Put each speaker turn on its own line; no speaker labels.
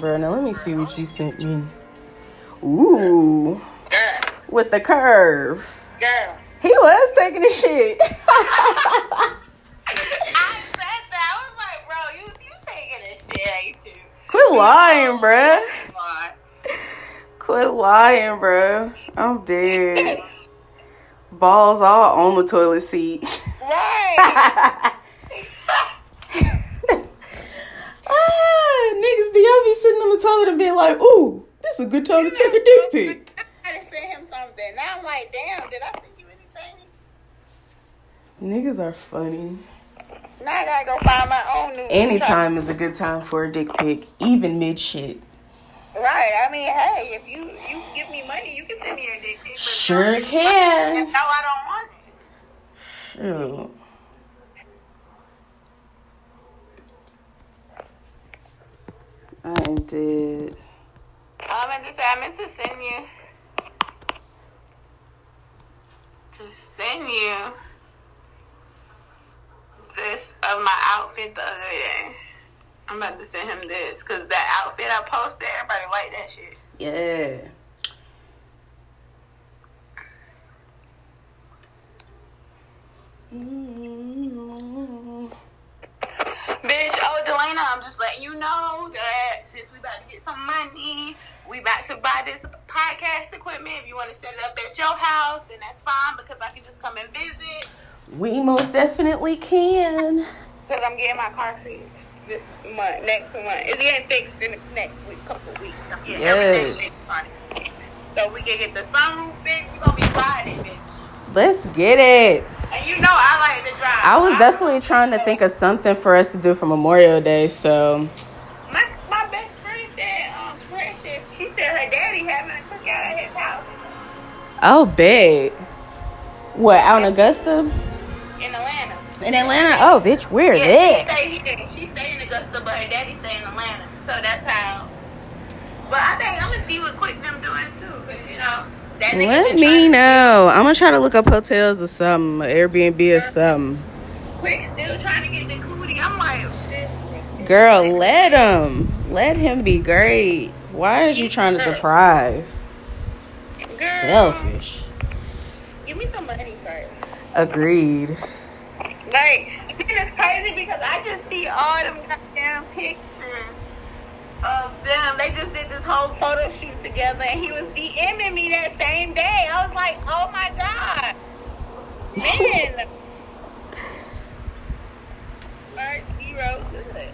Bro, now let me see what you sent me. Ooh,
Girl,
with the curve.
girl.
He was taking a shit.
I said that. I was like, bro, you you taking this shit, ain't you?
Quit lying, bruh.
Come on.
Quit lying, bruh. I'm dead. Balls all on the toilet seat.
Right.
ah, niggas, do y'all be sitting on the toilet and being like, ooh, this is a good time to take a dick pic?
I had to send him something. Now I'm like, damn, did I send you anything?
Niggas are funny.
Now I gotta go find my own news.
Anytime is a good time for a dick pic, even mid shit.
Right. I mean, hey, if you you give me money, you can send me your dick pic. but
Sure
No,
can.
I don't want it.
Shoot. I am dead.
I meant to say, I meant to send you. To send you this of my outfit the other day. I'm about to send him this because that outfit I posted, everybody liked that shit.
Yeah.
Bitch, oh, Delana, I'm just letting you know that since we about to get some money, we about to buy this podcast equipment. If you want to set it up at your house, then that's fine because I can just come and visit
We most definitely can.
because I'm getting my car fixed this month, next month. It's getting fixed in the next week, couple weeks. I'm getting everything
Yes.
fixed on it. So we can get the sunroof fixed. We're going to be riding, bitch.
Let's get it.
And you know I like to drive.
I was definitely trying to think of something for us to do for Memorial Day, so
My, my best friend said, um, Precious, she said her daddy having a cookout at his house.
I'll Oh, bet. What, out in Augusta?
in Atlanta.
In Atlanta? Oh, bitch, we're
Yeah,
there.
she stay here. She stay in Augusta, but her daddy stay in Atlanta. So that's how. But I think I'm gonna see what Quick them doing too, cause you know that nigga.
Let
been
me
trying-
know. I'm gonna try to look up hotels or something, Airbnb or something.
Quick still trying to get the cootie. I'm like, this nigga-
Girl, let him. Let him be great. Why is you trying to deprive?
Girl,
Selfish.
Give me some money first.
Agreed.
Like, and it's crazy because I just see all them goddamn pictures of them. They just did this whole photo shoot together, and he was DMing me that same day. I was like, oh my god, man, Earth zero good.